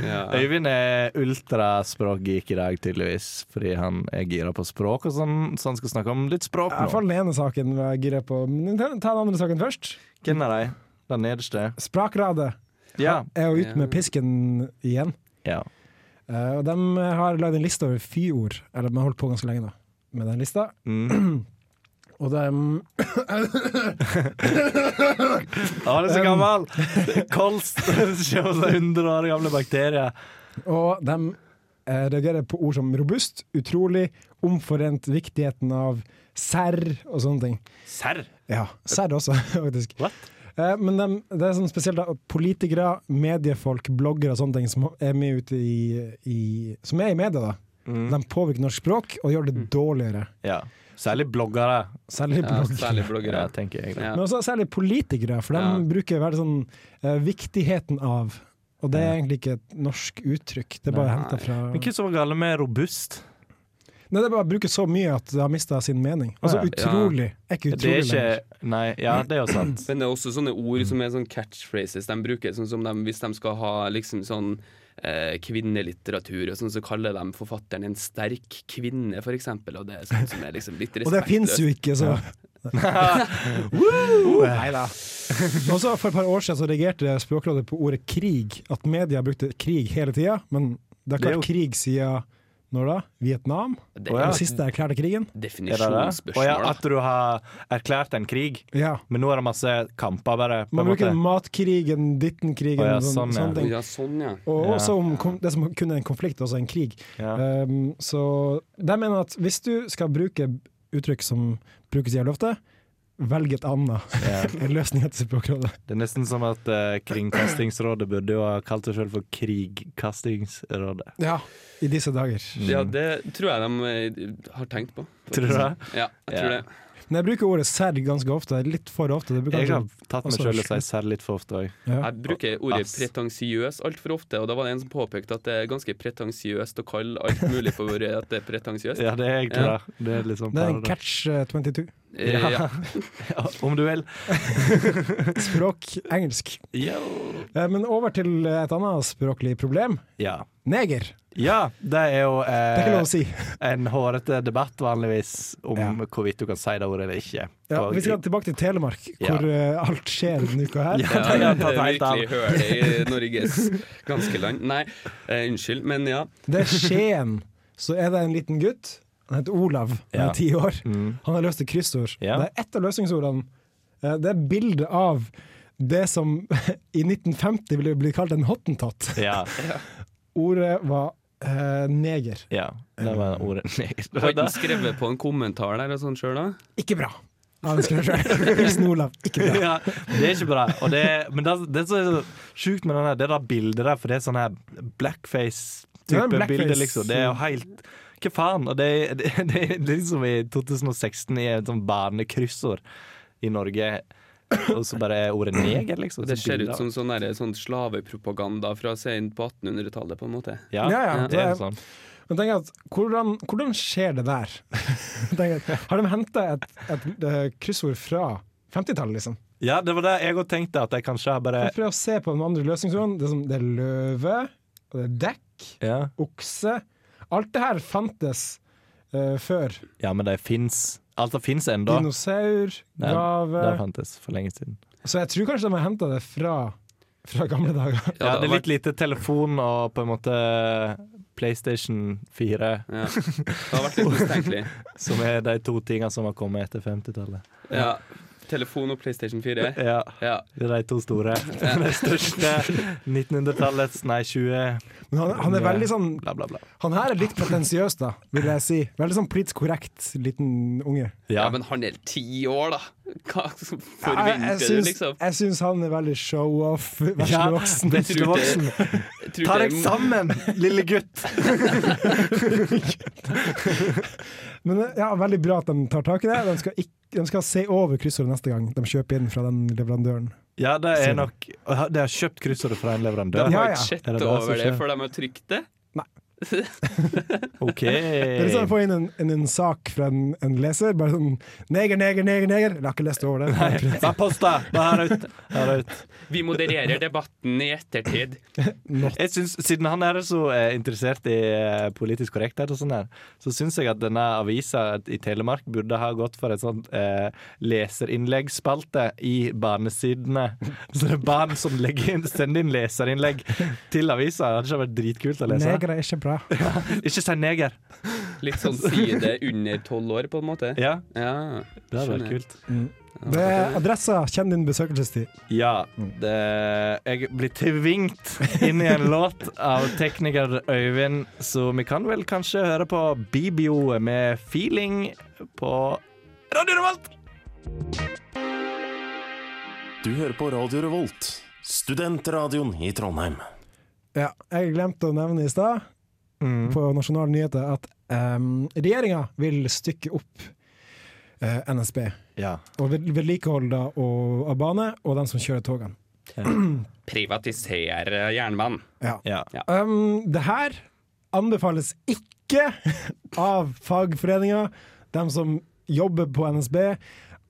Speaker 9: Ja.
Speaker 7: Øyvind er ultraspråkgeek i dag, tydeligvis, fordi han er gira på språk, og sånn, så han skal snakke om litt språk
Speaker 11: I hvert
Speaker 7: nå.
Speaker 11: fall den ene saken jeg girer på. Men ta ta den andre saken først.
Speaker 7: Hvem er de? Den nederste?
Speaker 11: Sprakradet
Speaker 7: Ja.
Speaker 11: er jo ute med pisken igjen.
Speaker 7: Ja.
Speaker 11: Eh, og de har lagd en liste over fyord, eller de har holdt på ganske lenge da, med den lista. og de
Speaker 7: han er så gammel! Kols! Kjenner seg 100 sånn år gamle bakterier.
Speaker 11: Og de eh, reagerer på ord som robust, utrolig, omforent, viktigheten av serr og sånne ting.
Speaker 7: Serr?
Speaker 11: Ja, serr også, faktisk. Eh, Men de, det er sånn spesielt da, politikere, mediefolk, bloggere og sånne ting som er mye ute i, i Som er i media, da. De påvirker norsk språk og gjør det dårligere.
Speaker 7: Ja. Særlig bloggere.
Speaker 11: Særlig bloggere.
Speaker 9: Ja, særlig bloggere.
Speaker 7: Ja, tenker jeg.
Speaker 11: Men også særlig politikere, for de bruker veldig sånn eh, viktigheten av. Og det er egentlig ikke et norsk uttrykk, det er bare henta fra
Speaker 7: Men hva som var galt med robust?
Speaker 11: Nei, det er bare å bruke så mye at det har mista sin mening. Altså
Speaker 7: Ja.
Speaker 11: utrolig. Er ikke utrolig lenger.
Speaker 7: Nei, ja, det er jo sant.
Speaker 9: Men det er også sånne ord som er sånn catchphrases de bruker. Sånn som de, hvis de skal ha liksom sånn eh, kvinnelitteratur, og sånn, så kaller de forfatteren en sterk kvinne, for eksempel. Og det er sånn som er liksom litt
Speaker 11: Og det fins jo ikke, så
Speaker 9: Woo!
Speaker 11: Neida. Og så For et par år siden så reagerte Språkrådet på ordet krig. At media brukte krig hele tida. Men det har
Speaker 7: Det er
Speaker 11: ikke vært krig siden når da? Vietnam?
Speaker 7: Det er-
Speaker 11: Den siste erklærte krigen?
Speaker 7: Å ja, at du har erklært en krig,
Speaker 11: Ja.
Speaker 7: men nå er det masse kamper, bare. på
Speaker 11: Man
Speaker 7: en
Speaker 11: bruker
Speaker 7: måte.
Speaker 11: matkrigen, dittenkrigen
Speaker 7: Å ja,
Speaker 11: og sånn,
Speaker 7: sånn, ja.
Speaker 11: sånne ting.
Speaker 9: Ja, sånn, ja.
Speaker 11: Og
Speaker 7: Ja.
Speaker 11: også om kon- det som kun er en konflikt, også en krig. Um, så de mener at hvis du skal bruke uttrykk som brukes jævlig ofte, velg et annet. En løsning etter Språkrådet.
Speaker 7: Det er nesten som at eh, Kringkastingsrådet burde jo ha kalt seg selv for Krigkastingsrådet.
Speaker 11: Ja, i disse dager.
Speaker 9: Ja,
Speaker 7: Mm.
Speaker 9: det tror jeg de eh, har tenkt på.
Speaker 7: Tror du det?
Speaker 9: Ja, jeg tror
Speaker 7: Ja.
Speaker 9: det.
Speaker 11: Men jeg bruker ordet serr ganske ofte. Litt for ofte. Det bruker
Speaker 7: Jeg har
Speaker 11: kanskje-
Speaker 7: tatt meg
Speaker 11: også-
Speaker 7: selv og sier serr litt for ofte òg.
Speaker 9: Jeg bruker ordet pretensiøs altfor ofte, og da var det en som påpekte at det er ganske pretensiøst å kalle alt mulig for at det er pretensiøst.
Speaker 7: Ja, det er egentlig
Speaker 9: Ja.
Speaker 7: det. Det er liksom
Speaker 11: Det er en catch eh, 22.
Speaker 9: Eh, ja.
Speaker 7: Om du vil.
Speaker 11: Språk engelsk.
Speaker 7: Yo.
Speaker 11: Eh, Men over til et annet språklig problem.
Speaker 7: Ja.
Speaker 11: Neger.
Speaker 7: Ja, det er jo eh,
Speaker 11: Det er ikke lov å si.
Speaker 7: en hårete debatt vanligvis om hvorvidt du kan si det ordet eller ikke.
Speaker 11: Ja,
Speaker 7: Og-
Speaker 11: vi skal tilbake til Telemark,
Speaker 7: Ja.
Speaker 11: hvor eh, alt skjer denne uka her.
Speaker 9: Ja, det er virkelig høl i Norges ganske land. Nei, eh, unnskyld, men ja.
Speaker 11: Det er Skien. Så er det en liten gutt. Han heter Olav. Han
Speaker 9: Ja.
Speaker 11: er ti år. Han har løst et kryssord.
Speaker 9: Ja.
Speaker 11: Det er ett av løsningsordene. Eh, Det er bilde av det som i 1950 ville bli kalt en hottentott.
Speaker 7: Ja.
Speaker 11: Ordet var eh, neger.
Speaker 7: ja. Det var ordet neger.
Speaker 9: Har ikke han skrevet på en kommentar der og sånn sjøl, da?
Speaker 11: Ikke bra. Han skrev selv. Hilsen Olav. Ikke bra.
Speaker 7: Ja, det er ikke bra. Og det, men det, det som er så sjukt med den her, det der bildet der, for det er sånn her
Speaker 11: Det er
Speaker 7: blackface-type
Speaker 11: en blackface.
Speaker 7: bilde, liksom. Det er jo helt Hva faen? Og det, det, det er liksom i 2016 i et sånn barnekryssord i Norge, og så bare er ordet neger, liksom.
Speaker 9: Det ser
Speaker 7: bilder
Speaker 9: ut
Speaker 7: av-
Speaker 9: som sånn, derre- sånn slavepropaganda fra sent på 1800-tallet, på en måte.
Speaker 7: Ja,
Speaker 11: Ja, ja,
Speaker 7: det er
Speaker 11: det-
Speaker 7: sånn.
Speaker 11: Men tenk at, hvordan, hvordan skjer det der? Tenk at, har de henta et, et, eh, kryssord fra 50-tallet, liksom?
Speaker 7: Ja, det var det jeg òg tenkte, at jeg kanskje har bare
Speaker 11: Jeg prøver å se på de andre løsningsordene. Det, er som- det er løve, og det er dekk,
Speaker 7: Ja.
Speaker 11: okse. Alt det her fantes eh, før.
Speaker 7: Ja, men det altså, fins. Alt det fins ennå.
Speaker 11: Dinosaur,
Speaker 7: Det, det
Speaker 11: gave
Speaker 7: fantes for lenge siden.
Speaker 11: Så jeg tror kanskje de har henta det fra, fra gamle dager.
Speaker 7: Ja, det er litt lite telefon og på en måte PlayStation 4.
Speaker 9: Det har vært litt mistenkelig.
Speaker 7: Som er de to tingene som har kommet etter 50-tallet.
Speaker 9: Ja. Telefon og PlayStation 4.
Speaker 7: Ja.
Speaker 9: Ja.
Speaker 7: Det er de to store. De største 1900-tallets, nei 20
Speaker 11: Men han, han er veldig sånn
Speaker 7: Bla, bla, bla.
Speaker 11: Han her er litt pretensiøs, da, vil jeg si. Veldig sånn politisk korrekt liten unge.
Speaker 9: Ja. men han er ti år, da! Hva som
Speaker 11: Jeg, jeg,
Speaker 9: forventer du,
Speaker 11: syns,
Speaker 9: liksom?
Speaker 11: jeg syns han er veldig show-off. Vær så
Speaker 7: Ja,
Speaker 11: voksen.
Speaker 7: vær så voksen.
Speaker 9: Jeg tror
Speaker 7: Ta
Speaker 9: det-
Speaker 7: deg sammen, lille gutt!
Speaker 11: eh, Men ja, veldig bra at de tar tak i det. De skal ikke, de skal se over kryssordet neste gang de kjøper inn fra den leverandøren.
Speaker 7: Ja, det
Speaker 11: Ser
Speaker 7: er
Speaker 11: du.
Speaker 7: nok Aha, De har kjøpt kryssordet fra en
Speaker 9: De
Speaker 7: leverandør?
Speaker 9: har
Speaker 7: Er
Speaker 9: ikke sett
Speaker 7: det det som
Speaker 9: over det
Speaker 7: skjer?
Speaker 9: før de har trykt det.
Speaker 7: OK.
Speaker 11: Det er
Speaker 7: Eh.
Speaker 11: liksom å få inn en, en, en sak fra en, en leser. Bare sånn 'Neger, neger, neger'. neger. Jeg har ikke lest over det.
Speaker 7: Nei, hva posta? Hva er ut? Hva er ut?
Speaker 9: Vi modererer debatten i ettertid.
Speaker 7: Jeg synes, Siden han er så eh, interessert i eh, politisk korrekthet, og sånn her, så syns jeg at denne avisa i Telemark burde ha gått for et sånt eh, leserinnleggsspalte i barnesidene. Så det er barn som legger inn, sender inn leserinnlegg til avisa. Det hadde ikke vært dritkult å lese.
Speaker 11: Neger er ikke bra.
Speaker 7: Ikke si neger.
Speaker 9: Litt sånn side under tolv år, på en måte.
Speaker 7: Ja.
Speaker 9: det
Speaker 7: hadde vært
Speaker 9: kult.
Speaker 11: Det er adressa, kjenn din besøkelsestid.
Speaker 7: Ja. Det, jeg blir tvingt inn i en låt av tekniker Øyvind, så vi kan vel kanskje høre på Bibio med 'Feeling' på Radio Revolt.
Speaker 12: Du hører på Radio Revolt, studentradioen i Trondheim.
Speaker 11: Ja, jeg glemte å nevne i stad
Speaker 7: Mm.
Speaker 11: på Nasjonale nyheter at um, regjeringa vil stykke opp eh, NSB.
Speaker 7: Ja.
Speaker 11: Og ved- vedlikehold da, og, av bane, og dem som kjører togene.
Speaker 9: Privatisere jernbanen.
Speaker 11: Ja. Um, det her anbefales ikke av fagforeninga, dem som jobber på NSB,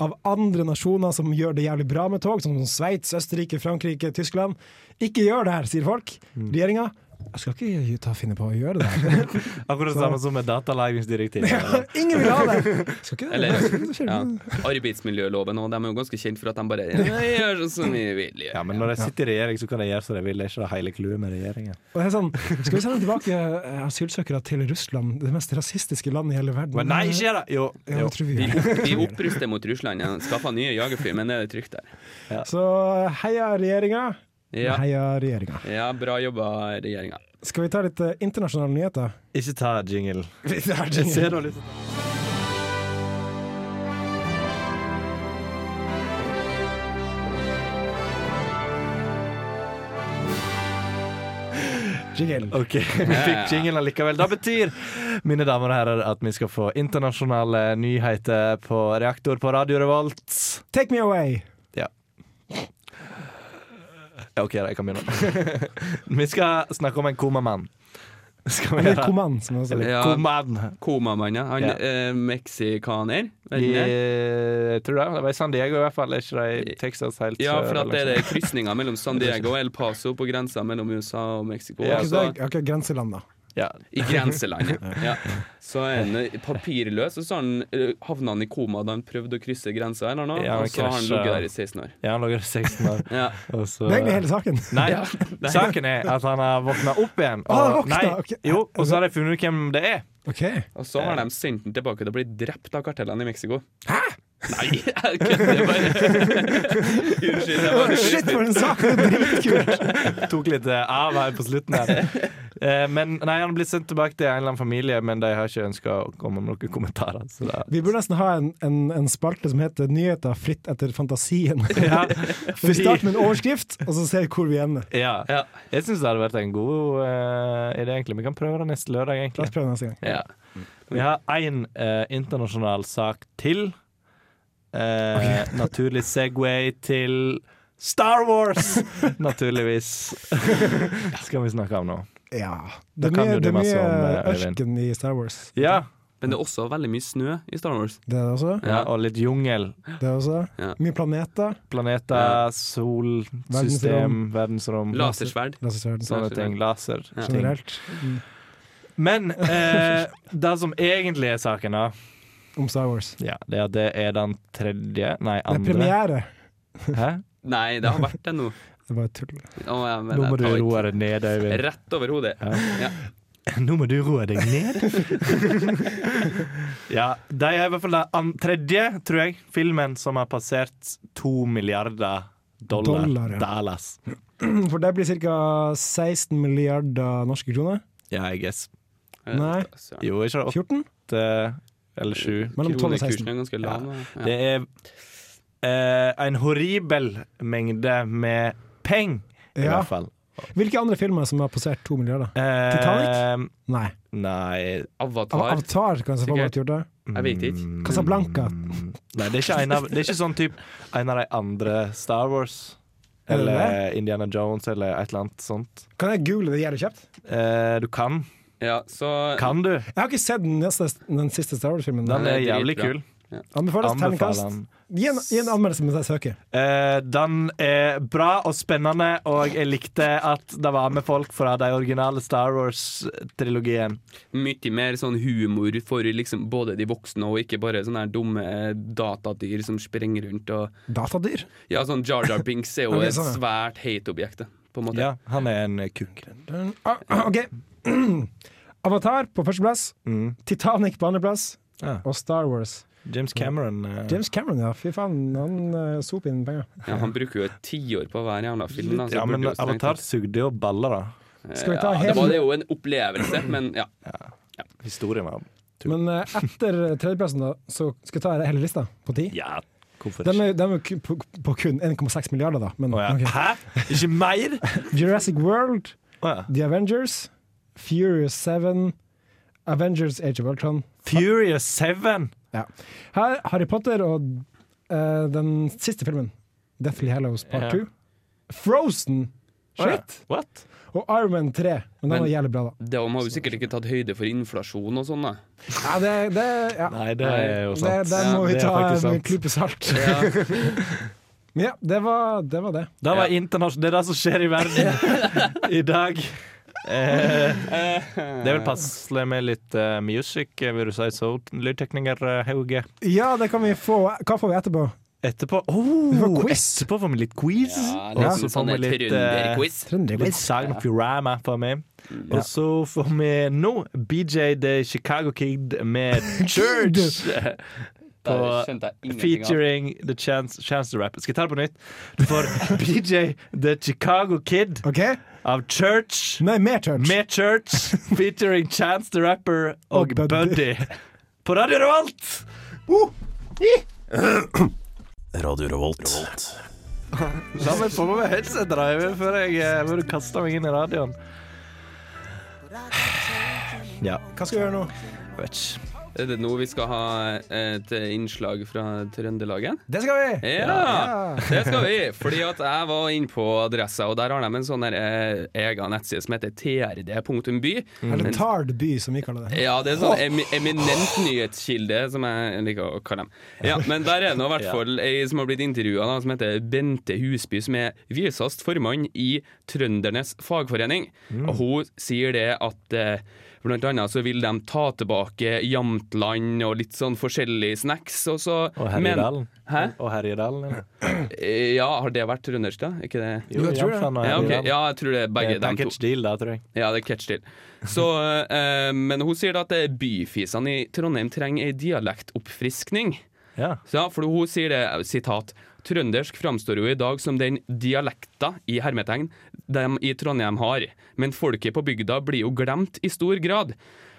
Speaker 11: av andre nasjoner som gjør det jævlig bra med tog, som Sveits, Østerrike, Frankrike, Tyskland. Ikke gjør det her, sier folk. Regjeringa jeg skal ikke ta finne på å gjøre det. her.
Speaker 7: Akkurat det
Speaker 11: Så-
Speaker 7: samme som med datalagringsdirektivet.
Speaker 11: Ingen vil ha det! Skal ikke
Speaker 9: Eller
Speaker 11: det.
Speaker 9: ja, arbeidsmiljøloven òg. De er jo ganske kjent for at de bare «Ja, gjør sånn som vi vil. gjøre».
Speaker 7: Ja, men når de sitter i regjering, så kan de gjøre som de vil. Det er ikke det hele clouet med regjeringen.
Speaker 11: Og det er sånn, skal vi sende tilbake eh, asylsøkere til Russland, det mest rasistiske landet i hele verden?
Speaker 7: Men nei, ikke gjør det! Jo.
Speaker 11: Ja,
Speaker 7: jo.
Speaker 11: det tror vi
Speaker 9: Vi,
Speaker 11: gjør.
Speaker 9: opp, vi oppruster mot Russland. Ja. Skaffa nye jagerfly, men det er trygt der.
Speaker 11: Så heia regjeringa.
Speaker 9: Ja.
Speaker 11: Heia regjeringa.
Speaker 9: Ja, bra jobba, regjeringa.
Speaker 11: Skal vi ta litt eh, internasjonale nyheter?
Speaker 7: Ikke ta jingle.
Speaker 11: Vi tar jingle.
Speaker 7: Jeg ser dårlig ut.
Speaker 11: Jingle.
Speaker 7: OK, vi fikk jingle allikevel. Det betyr, mine damer og herrer, at vi skal få internasjonale nyheter på reaktor på Radio Revolt.
Speaker 11: Take me away!
Speaker 7: Ja. Ja, OK, da, jeg kan begynne. vi skal snakke om en komamann. Skal
Speaker 11: Eller
Speaker 7: gjøre-
Speaker 11: koman, som jeg sier.
Speaker 7: Eller koman.
Speaker 9: Komamann, ja. Han
Speaker 7: Ja.
Speaker 9: eh, meksikaner. er
Speaker 7: I,
Speaker 9: det det?
Speaker 7: jeg tror det. Det var i San Diego i hvert fall, ikke det i Texas helt
Speaker 9: Ja, for
Speaker 7: sør,
Speaker 9: at det er
Speaker 7: eller noe
Speaker 9: det krysninga mellom San Diego og El Paso på grensa mellom USA og Mexico.
Speaker 11: Ja,
Speaker 9: altså,
Speaker 11: Akkurat akkurat grenseland, da.
Speaker 7: Ja.
Speaker 9: I grenselandet. Ja. Så er han eh, papirløs, og så har han, eh, havna han i koma da han prøvde å krysse grensa, eller noe,
Speaker 7: Ja, han
Speaker 9: og så har han
Speaker 7: krasja.
Speaker 9: ligget der i 16 år.
Speaker 7: Ja, han lå i 16 år.
Speaker 9: Ja.
Speaker 7: Og så-
Speaker 11: Det er egentlig hele saken.
Speaker 7: Nei,
Speaker 11: Ja.
Speaker 7: saken er at han har våkna opp igjen.
Speaker 11: Ah, han har våkna,
Speaker 7: nei,
Speaker 11: ok. altså-
Speaker 7: jo, og så har de funnet ut hvem det er.
Speaker 9: Og så har de sendt den tilbake til å bli drept av kartellene i Mexico. Hæ?! Nei, jeg kødder bare. Unnskyld. jeg bare-
Speaker 11: Shit, for en sak! Det er dritkult!
Speaker 7: Tok litt eh, av her på slutten her. Eh, Men nei, han har blitt sendt tilbake til en eller annen familie, men de har ikke ønska å komme med noen kommentarer. Så da
Speaker 11: Vi burde nesten ha en, en, en spalte som heter 'Nyheter fritt etter fantasien'.
Speaker 7: Ja,
Speaker 11: Vi starter med en overskrift, og så ser vi hvor vi ender.
Speaker 7: ja. Jeg syns det hadde vært en god eh, idé, egentlig. Vi kan prøve det neste lørdag,
Speaker 11: La oss
Speaker 7: egentlig.
Speaker 11: prøve neste gang.
Speaker 7: Ja. Vi har én eh, internasjonal sak til. Eh, Naturlig Segway til Star Wars! Naturligvis. Skal vi snakke om nå.
Speaker 11: Ja.
Speaker 7: Da
Speaker 11: Det er
Speaker 7: kan
Speaker 11: mye,
Speaker 7: jo du
Speaker 11: det er
Speaker 7: masse
Speaker 11: mye
Speaker 7: om, eh, Øyvind.
Speaker 11: ørken i Star Wars.
Speaker 7: Ja.
Speaker 9: Men det er også veldig mye snø i Star Wars.
Speaker 11: Det er det også.
Speaker 7: Ja, og litt jungel.
Speaker 11: Det er også.
Speaker 9: Ja.
Speaker 11: Mye planeter.
Speaker 7: Planeter, sol, system, verdensrom.
Speaker 9: Lasersverd.
Speaker 11: Lasersverd.
Speaker 7: Sånne ting. Laser.
Speaker 11: Ja.
Speaker 7: Ting.
Speaker 11: Generelt. Mm.
Speaker 7: Men eh, det som egentlig er saken, da,
Speaker 11: Om Star Wars.
Speaker 7: ja, det er at det er den tredje Nei,
Speaker 11: Det
Speaker 7: andre.
Speaker 11: er premiere!
Speaker 7: Hæ?
Speaker 9: Nei, det har vært det nå.
Speaker 11: Det var tull.
Speaker 9: Å, ja, men
Speaker 7: Nå må
Speaker 9: jeg
Speaker 7: du
Speaker 9: tar ikke-
Speaker 7: roe deg ned, Øyvind.
Speaker 9: Rett over hodet. Ja.
Speaker 7: Nå må du roe deg ned. ja, de er i hvert fall den an- tredje, tror jeg, filmen som har passert to milliarder dollar.
Speaker 11: Dollar, ja.
Speaker 7: Dallas.
Speaker 11: For det blir ca. 16 milliarder norske kroner.
Speaker 7: Ja, I guess.
Speaker 11: Nei.
Speaker 7: Jo, ikke det
Speaker 11: 14?
Speaker 7: åtte eh, eller sju?
Speaker 11: Mellom 12 og 16.
Speaker 9: Kronekursen er ganske lav nå. Ja.
Speaker 7: Det er eh, en horribel mengde med peng, i
Speaker 11: Ja.
Speaker 7: hvert fall.
Speaker 11: Hvilke andre filmer som har passert to milliarder?
Speaker 7: Eh,
Speaker 11: Titanic? Nei.
Speaker 7: Nei
Speaker 9: Avatar.
Speaker 11: Avatar kan selvfølgelig ha gjort det.
Speaker 9: Jeg vet ikke.
Speaker 11: Casablanca.
Speaker 7: Nei, det er ikke, en av, det er ikke sånn typ en av de andre Star Wars.
Speaker 11: Er det
Speaker 7: Eller Indiana Jones, eller et eller annet sånt.
Speaker 11: Kan jeg google det jævlig kjapt?
Speaker 7: Eh, du kan. Kan du?
Speaker 11: Jeg har ikke sett den, neste, den siste Star Wars-filmen.
Speaker 7: Den er jævlig kul.
Speaker 11: Anbefales terningkast.
Speaker 7: Anbefaler den.
Speaker 11: Gi en, gi en anmeldelse mens jeg søker.
Speaker 7: Eh, den er bra og spennende, og jeg likte at det var med folk fra de originale Star Wars-trilogien.
Speaker 9: Mye mer sånn humor for liksom både de voksne og ikke bare sånne her dumme eh, datadyr som sprenger rundt og
Speaker 11: Datadyr?
Speaker 9: Ja, sånn Jar Jar Binks er jo
Speaker 7: Ok,
Speaker 9: et
Speaker 7: sånn, ja.
Speaker 9: svært hate-objekt, det, på en måte.
Speaker 7: Ja, han er en kuk.
Speaker 11: Den- ah, ah, OK. Avatar på førsteplass,
Speaker 7: Mm.
Speaker 11: Titanic på andreplass og Star Wars.
Speaker 7: James Cameron. eh,
Speaker 11: James Cameron, ja. Fy faen, han uh, soper inn penger.
Speaker 9: Ja, han bruker jo et tiår på hver jævla film. da, så
Speaker 7: Ja,
Speaker 9: burde
Speaker 7: men
Speaker 9: jo strengt
Speaker 7: Avatar
Speaker 9: tatt-
Speaker 7: sugde jo baller, da.
Speaker 11: Skal vi ta
Speaker 9: ja,
Speaker 11: hele-
Speaker 9: det, var, det er jo en opplevelse, men ja.
Speaker 7: Historien var
Speaker 11: Men eh, etter tredjeplassen, da, så skal vi ta hele lista på ti.
Speaker 7: Ja, hvorfor
Speaker 11: De er, de er jo ku- på, på kun 1,6 milliarder, da. Men, ok.
Speaker 7: Hæ? Ikke mer?
Speaker 11: Jurassic World, The Avengers, Furious 7, Avengers Age of Ultron.
Speaker 7: Furious 7!
Speaker 11: Ja. Her Harry Potter og eh, den siste filmen, Deathly Hallows Part
Speaker 7: Ja.
Speaker 11: 2. Frozen!
Speaker 9: Å ja.
Speaker 11: Shit! Og Iron Man 3. Men den
Speaker 9: Men-
Speaker 11: var jævlig bra, da.
Speaker 9: De har jo sikkert ikke tatt høyde for inflasjon og sånn, da.
Speaker 11: Ja, det, det, ja.
Speaker 7: Nei,
Speaker 11: Det, den må vi ta med en klype salt.
Speaker 9: Ja.
Speaker 11: Men ja, det var det. Var det.
Speaker 7: Det, var internasjonalt. det er det som skjer i verden i dag. Eh, det er vel passelig med litt eh, music, eh, vil du si så, lydtekniker eh, Hauge.
Speaker 11: Ja, det kan vi få. Hva får vi etterpå?
Speaker 7: Etterpå oh, Etterpå får vi litt quiz.
Speaker 11: Ja,
Speaker 7: og
Speaker 11: litt
Speaker 7: så får
Speaker 11: sånn
Speaker 7: vi litt, eh,
Speaker 11: trønderquiz. Trønderquiz.
Speaker 7: litt Sagn
Speaker 11: Ja.
Speaker 7: of Urama får vi. Og så får vi nå BJ The Chicago Kid med Church. På,
Speaker 9: Der skjønte jeg ingenting av.
Speaker 7: featuring The Chance, chance to Rap. Skal jeg ta det på nytt? Du får BJ The Chicago Kid av Church.
Speaker 11: Nei, med Church.
Speaker 7: Med Church featuring Chance the Rapper og
Speaker 13: Og Buddy.
Speaker 7: Buddy. På Radio Revolt!
Speaker 12: Uh. Radio Revolt.
Speaker 7: La meg få på meg headsetet da, jeg vil- før jeg eh, før du kaster meg inn i radioen. Ja.
Speaker 11: Hva skal vi gjøre nå?
Speaker 7: Jeg vet ikke.
Speaker 9: Er det nå vi skal ha et innslag fra Trøndelagen?
Speaker 11: Det skal vi!
Speaker 9: Ja, det skal vi. Fordi at jeg var inne på Adressa, og der har de en sånn der, eh, egen nettside som heter trd.by.
Speaker 11: Eller
Speaker 9: En-
Speaker 11: Tard by, som vi kaller det.
Speaker 9: Ja, det er sånn emi eminent nyhetskilde, som jeg liker å kalle dem. Ja, men der er det nå i hvert fall ei som har blitt intervjua, som heter Bente Husby, som er visest formann i Trøndernes fagforening.
Speaker 14: Mm.
Speaker 9: Og hun sier det at eh, Blant annet så vil de ta tilbake Jamtland og litt sånn forskjellige snacks. Og, så,
Speaker 7: Og Herjedalen.
Speaker 9: Hæ?
Speaker 7: Og Herjedalen, ja.
Speaker 9: Ja, har det vært trøndersk, da? Ikke det?
Speaker 7: Jo, Jo, jeg tror det. Jamtland og
Speaker 9: Ja, ok.
Speaker 7: Herjedalen.
Speaker 9: ja, jeg tror det er
Speaker 7: Det
Speaker 9: begge
Speaker 7: er
Speaker 9: dem to.
Speaker 7: package deal, da, tror jeg.
Speaker 9: Ja, det er catch til. Så, eh, men hun sier da at eh, byfisene i Trondheim trenger ei dialektoppfriskning.
Speaker 7: Ja.
Speaker 9: Så, ja, for hun sier det, eh, sitat, Trøndersk framstår jo i dag som den dialekta i hermetegn de i Trondheim har, men folket på bygda blir jo glemt i stor grad.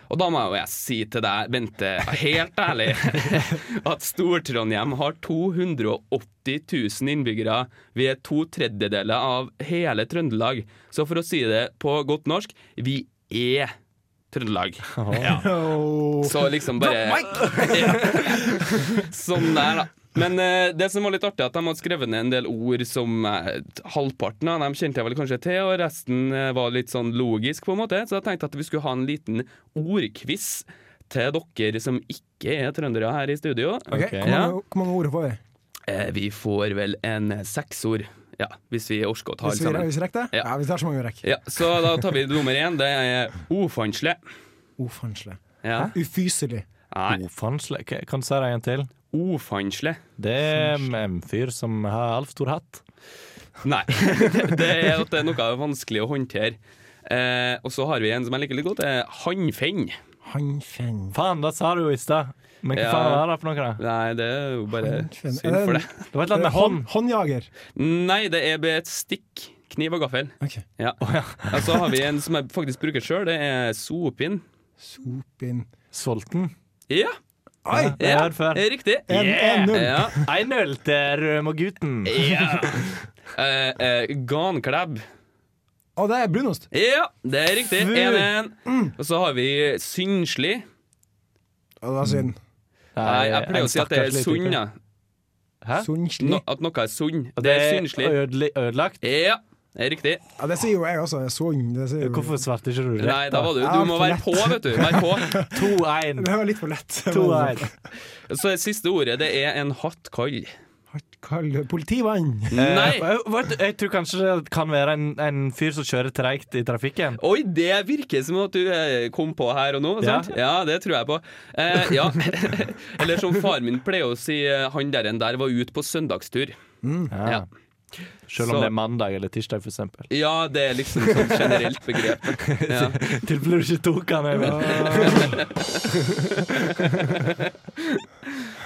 Speaker 9: Og da må jo jeg si til deg, Bente, helt ærlig, at Stor-Trondheim har 280 000 innbyggere. Vi er to tredjedeler av hele Trøndelag. Så for å si det på godt norsk, vi er Trøndelag. Ja.
Speaker 11: Oh.
Speaker 9: Så liksom bare Sånn der, da. Men eh, det som var litt artig, er at de hadde skrevet ned en del ord som eh, halvparten av dem kjente jeg vel kanskje til, og resten eh, var litt sånn logisk, på en måte. Så jeg tenkte at vi skulle ha en liten ordquiz til dere som ikke er trøndere her i studio.
Speaker 11: Ok, Hvor,
Speaker 9: Ja.
Speaker 11: mange, hvor mange ord får vi?
Speaker 9: Eh, Vi får vel en eh, seksord, ja, hvis vi orker å ta
Speaker 11: Hvis
Speaker 9: alle
Speaker 11: vi,
Speaker 9: sammen.
Speaker 11: hvis vi rekker det? Ja. vi tar så mange vi rekker.
Speaker 9: Ja, så da tar vi nummer én. Det er ofansle.
Speaker 11: Ofansle.
Speaker 9: Ja.
Speaker 11: Ufyselig.
Speaker 7: Ofansle. K- Kan du si det en gang til?
Speaker 9: Ofansle.
Speaker 7: Det er en fyr som har altfor stor hatt.
Speaker 9: Nei. Det, det er at det er noe vanskelig å håndtere. Eh, og så har vi en som jeg liker litt godt. Det er hannfenn.
Speaker 11: Hannfenn.
Speaker 7: Faen, det sa du jo i stad. Men hva
Speaker 9: Ja.
Speaker 7: faen var det for noe, da?
Speaker 9: Nei, det er jo bare
Speaker 11: Hannfenn.
Speaker 9: synd for det.
Speaker 7: Det var et eller annet med
Speaker 9: Eh,
Speaker 7: hånd.
Speaker 11: Eh, Håndjager.
Speaker 9: Nei, det er bare et stikk. Kniv og gaffel. Ja. Og så har vi en som jeg faktisk bruker sjøl. Det er sopinn.
Speaker 11: Sopinn.
Speaker 7: Solten.
Speaker 9: Ja.
Speaker 11: Oi!
Speaker 7: Det har jeg hørt før.
Speaker 9: Ja, riktig.
Speaker 7: En-
Speaker 9: Yeah!
Speaker 7: 1-0.
Speaker 9: Ja.
Speaker 7: 1-0 til Rømogutten.
Speaker 9: Ja. Eh, eh, ganklæbb.
Speaker 11: Å, det er brunost.
Speaker 9: Ja, det er riktig.
Speaker 11: Fy.
Speaker 9: 1-1. Og så har vi synslig.
Speaker 11: Å, det var synd.
Speaker 9: Nei, jeg pleier å si at det er sund, ja.
Speaker 7: Hæ?
Speaker 11: Sunnslig.
Speaker 9: No, at noe er sunn.
Speaker 7: At
Speaker 9: Det er
Speaker 7: det er
Speaker 9: synslig.
Speaker 7: ødele- ødelagt?
Speaker 9: Ja, det er riktig.
Speaker 11: Ja, det sier jo jeg også. Sund. Det sier jo...
Speaker 7: Hvorfor svarte ikke du rett?
Speaker 9: Nei, da var du,
Speaker 11: Ja,
Speaker 9: du må
Speaker 11: for
Speaker 9: være
Speaker 11: lett.
Speaker 9: på, vet du. Vær på.
Speaker 7: 2-1.
Speaker 11: Det var litt for lett.
Speaker 9: Så det siste ordet, det er en hatt kall.
Speaker 11: Kall politivann.
Speaker 7: Eh, jeg, vet du, jeg tror kanskje det kan være en, en fyr som kjører treigt i trafikken.
Speaker 9: Oi, det virker som at du eh, kom på her og nå.
Speaker 7: Ja.
Speaker 9: Sant? Ja, det tror jeg på. Eh, ja. Eller som far min pleier å si, eh, han der en der var ute på søndagstur.
Speaker 7: Ja.
Speaker 9: Ja.
Speaker 7: Selv om
Speaker 9: Så-
Speaker 7: det er mandag eller tirsdag, for eksempel.
Speaker 9: Ja, det er liksom sånn generelt begrep. Ja.
Speaker 7: Tilfelle du ikke tok han, Øyvind.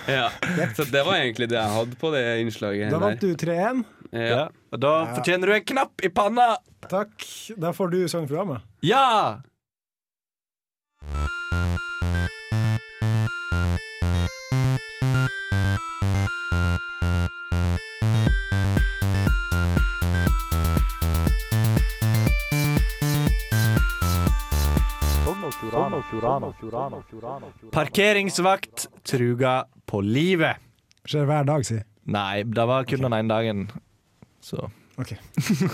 Speaker 9: ja. Så det var egentlig det jeg hadde på det innslaget.
Speaker 11: Da vant
Speaker 9: der.
Speaker 11: du 3-1.
Speaker 9: Ja.
Speaker 7: Og da fortjener du en knapp i panna!
Speaker 11: Takk. Da får du sang fra meg.
Speaker 7: Ja! Parkeringsvakt truga på livet.
Speaker 11: Skjer hver dag, si.
Speaker 7: Nei, det var kun den ene dagen. Så
Speaker 11: OK. Jeg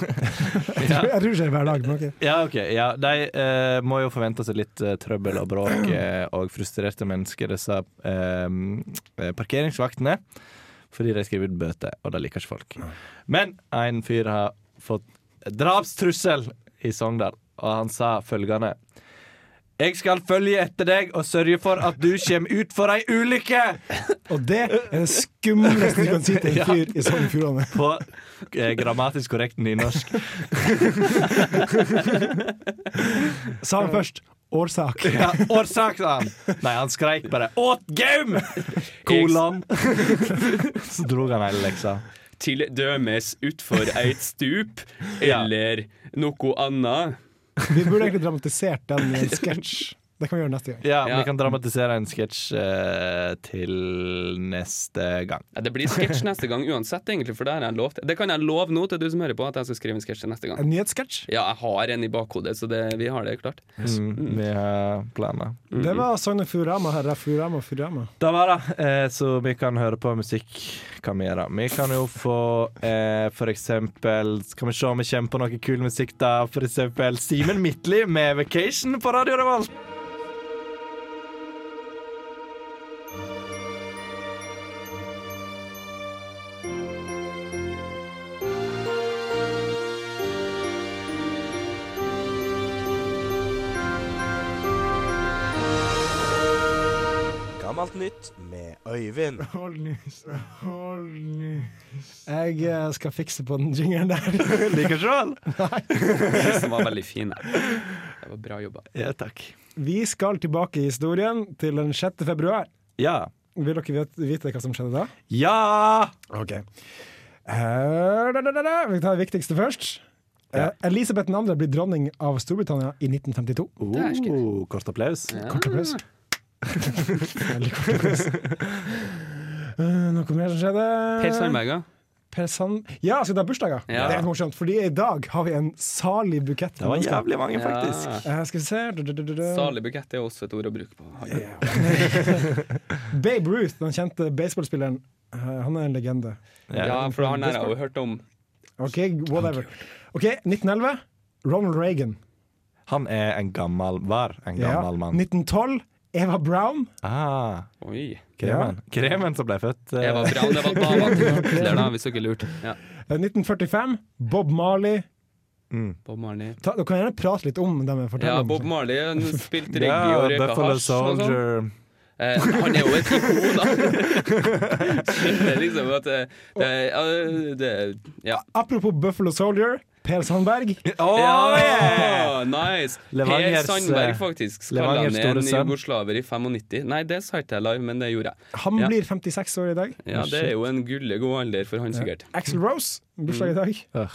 Speaker 7: Ja.
Speaker 11: tror jeg tror det skjer hver dag, men OK.
Speaker 7: Ja, ok. Ja, de eh, må jo forvente seg litt eh, trøbbel og bråk eh, og frustrerte mennesker, disse eh, eh, parkeringsvaktene. Fordi de skriver ut bøter, og det liker ikke folk. Men en fyr har fått drapstrussel i Sogndal, og han sa følgende Jeg skal følge etter deg og sørge for at du kommer ut for ei ulykke!
Speaker 11: Og det er det skumleste du kan si til
Speaker 7: Ja.
Speaker 11: en fyr i Sogn og Fjordane.
Speaker 7: På eh, grammatisk korrekt nynorsk.
Speaker 11: Sa han først årsak.
Speaker 7: Ja, årsak, sa han. Nei, han skreik bare 'Åt gaum!' Kolon. Så dro han hele leksa.
Speaker 9: Til dømes utfor eit stup eller noe annet.
Speaker 11: Vi burde egentlig dramatisert den i en sketsj. Det kan vi gjøre neste gang.
Speaker 7: Ja, Vi kan dramatisere en sketsj eh, til neste gang.
Speaker 9: Ja, det blir sketsj neste gang uansett, egentlig, for det har jeg lovt. Det kan jeg love nå til du som hører på, at jeg skal skrive en sketsj til neste gang.
Speaker 11: En nyhetssketsj.
Speaker 9: Ja, jeg har en i bakhodet, så det, vi har det klart.
Speaker 7: Mm, vi har planer.
Speaker 11: Det var Sogn og Fjordane her. Fjordane og Fjordane.
Speaker 7: Da var det. Eh, så vi kan høre på musikk. Kan vi gjøre. Vi kan jo få eh, for eksempel Skal vi se om vi kommer på noe kul musikk, da? For eksempel Simen Midtly med 'Vacation' på Radio Revolt.
Speaker 15: Gammelt nytt med Øyvind.
Speaker 11: Hold nys. Hold nys. Jeg eh, skal fikse på den jingeren der.
Speaker 7: Liker sjøl.
Speaker 9: Som var veldig fin. Det var bra jobba.
Speaker 7: Ja, takk.
Speaker 11: Vi skal tilbake i historien til den 6. februar.
Speaker 7: Ja.
Speaker 11: Vil dere vite, vite hva som skjedde da?
Speaker 7: Ja!
Speaker 11: Ok. Eh, da, da, da, da. Vi tar det viktigste først. Eh, Elisabeth 2. blir dronning av Storbritannia i 1952.
Speaker 7: Oh, kort applaus.
Speaker 11: Kort applaus. Veldig kort applaus. Eh, noe mer som skjedde?
Speaker 9: Per Sandberga.
Speaker 11: Per Sand... Ja, skal vi ta bursdager?
Speaker 9: Ja.
Speaker 11: Det er morsomt, fordi i dag har vi en salig bukett.
Speaker 9: Det var
Speaker 11: mennesker.
Speaker 9: jævlig mange, faktisk.
Speaker 11: Eh, skal vi se Du, du, du, du, du.
Speaker 9: Salig bukett er også et ord å bruke på.
Speaker 11: Babe Ruth, den kjente baseballspilleren, eh, han er en legende.
Speaker 9: Ja, for han her har jeg jo hørt om.
Speaker 11: OK, whatever. Ok, 1911. Ronald Reagan.
Speaker 7: Han er en gammel Var en gammel
Speaker 11: Ja.
Speaker 7: mann.
Speaker 11: 1912. Eva Brown.
Speaker 7: Ah.
Speaker 9: Oi.
Speaker 7: Kremen. Kremen som ble født. eh,
Speaker 9: Eva Braun, det var dama til Hitler, da, hvis dere lurte. Ja.
Speaker 11: Eh, 1945. Bob Marley.
Speaker 9: Bob Marley.
Speaker 11: Ta, dere kan gjerne prate litt om dem jeg forteller
Speaker 9: Ja,
Speaker 11: om.
Speaker 9: Bob Marley han spilte reggae
Speaker 7: Ja,
Speaker 9: og røyka
Speaker 7: Buffalo
Speaker 9: hasj og
Speaker 7: Soldier.
Speaker 9: sånn. Eh, han er jo et ikon, da. Så det er liksom at eh, det, er- ja, det er- Ja.
Speaker 11: Apropos Buffalo Soldier. Per Sandberg.
Speaker 9: Ja, nice! Per
Speaker 11: Levangers,
Speaker 9: Sandberg, faktisk. Skalla
Speaker 11: Levangers
Speaker 9: ned
Speaker 11: store
Speaker 9: en
Speaker 11: sønn.
Speaker 9: jugoslaver i 95. Nei, det sa ikke jeg live, men det gjorde jeg.
Speaker 11: Han
Speaker 9: ja.
Speaker 11: blir 56 år i dag.
Speaker 9: ja, det er jo en gulle god alder for han, sikkert.
Speaker 11: Axel Rose,
Speaker 9: Mm.
Speaker 11: bursdag i dag.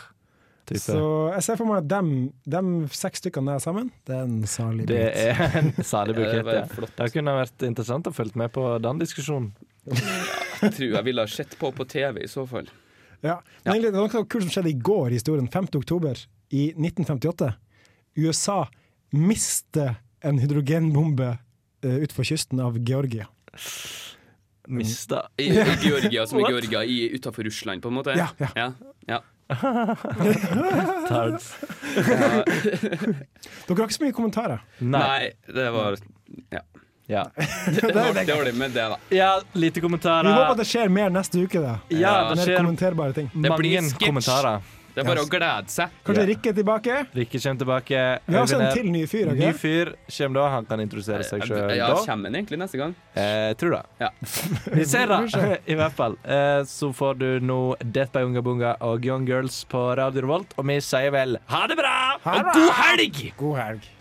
Speaker 11: Så jeg ser for meg at dem, dem seks stykkene der sammen, det er en salig
Speaker 7: Det
Speaker 11: bit.
Speaker 7: er en salig
Speaker 9: Ja, det
Speaker 7: bukett.
Speaker 9: var
Speaker 7: Ja,
Speaker 9: flott.
Speaker 7: det kunne vært interessant å følge med på den diskusjonen.
Speaker 9: Jeg tror jeg ville ha sett på på TV i så fall.
Speaker 11: Ja. Men egentlig, det var noe kult som skjedde i går i historien. 5. oktober i 1958. USA mister en hydrogenbombe eh, utenfor kysten av Georgia.
Speaker 7: Mista
Speaker 9: I, i Georgia som i Georgia utafor Russland, på en måte?
Speaker 7: Ja, ja.
Speaker 9: ja.
Speaker 7: Tards.
Speaker 9: Ja.
Speaker 11: Dere har ikke så mye kommentarer.
Speaker 9: Nei, det var Ja.
Speaker 7: ja.
Speaker 9: Det var dårlig med det, da.
Speaker 7: Ja, lite kommentarer.
Speaker 11: Vi håper at det skjer mer neste uke. Da.
Speaker 7: Ja, det
Speaker 11: Mer
Speaker 7: skjer-
Speaker 11: kommenterbare ting.
Speaker 7: Det blir Mange sketsj. kommentarer.
Speaker 9: Det er bare å glede seg.
Speaker 11: Kanskje Rikke er tilbake?
Speaker 7: Rikke kommer tilbake.
Speaker 11: Vi har også en
Speaker 7: Øyvind er-
Speaker 11: til ny fyr, ok?
Speaker 7: Ny fyr kommer da. Han kan introdusere seg sjøl
Speaker 9: Eh, Ja,
Speaker 7: da.
Speaker 9: kommer den egentlig neste gang?
Speaker 7: Eh, tror det.
Speaker 9: Ja.
Speaker 7: Vi ser det, i hvert fall. Eh, så får du nå Death by Unga Bunga og Young Girls på Radio Revolt, og vi sier vel ha det bra! Og god helg!
Speaker 11: God helg.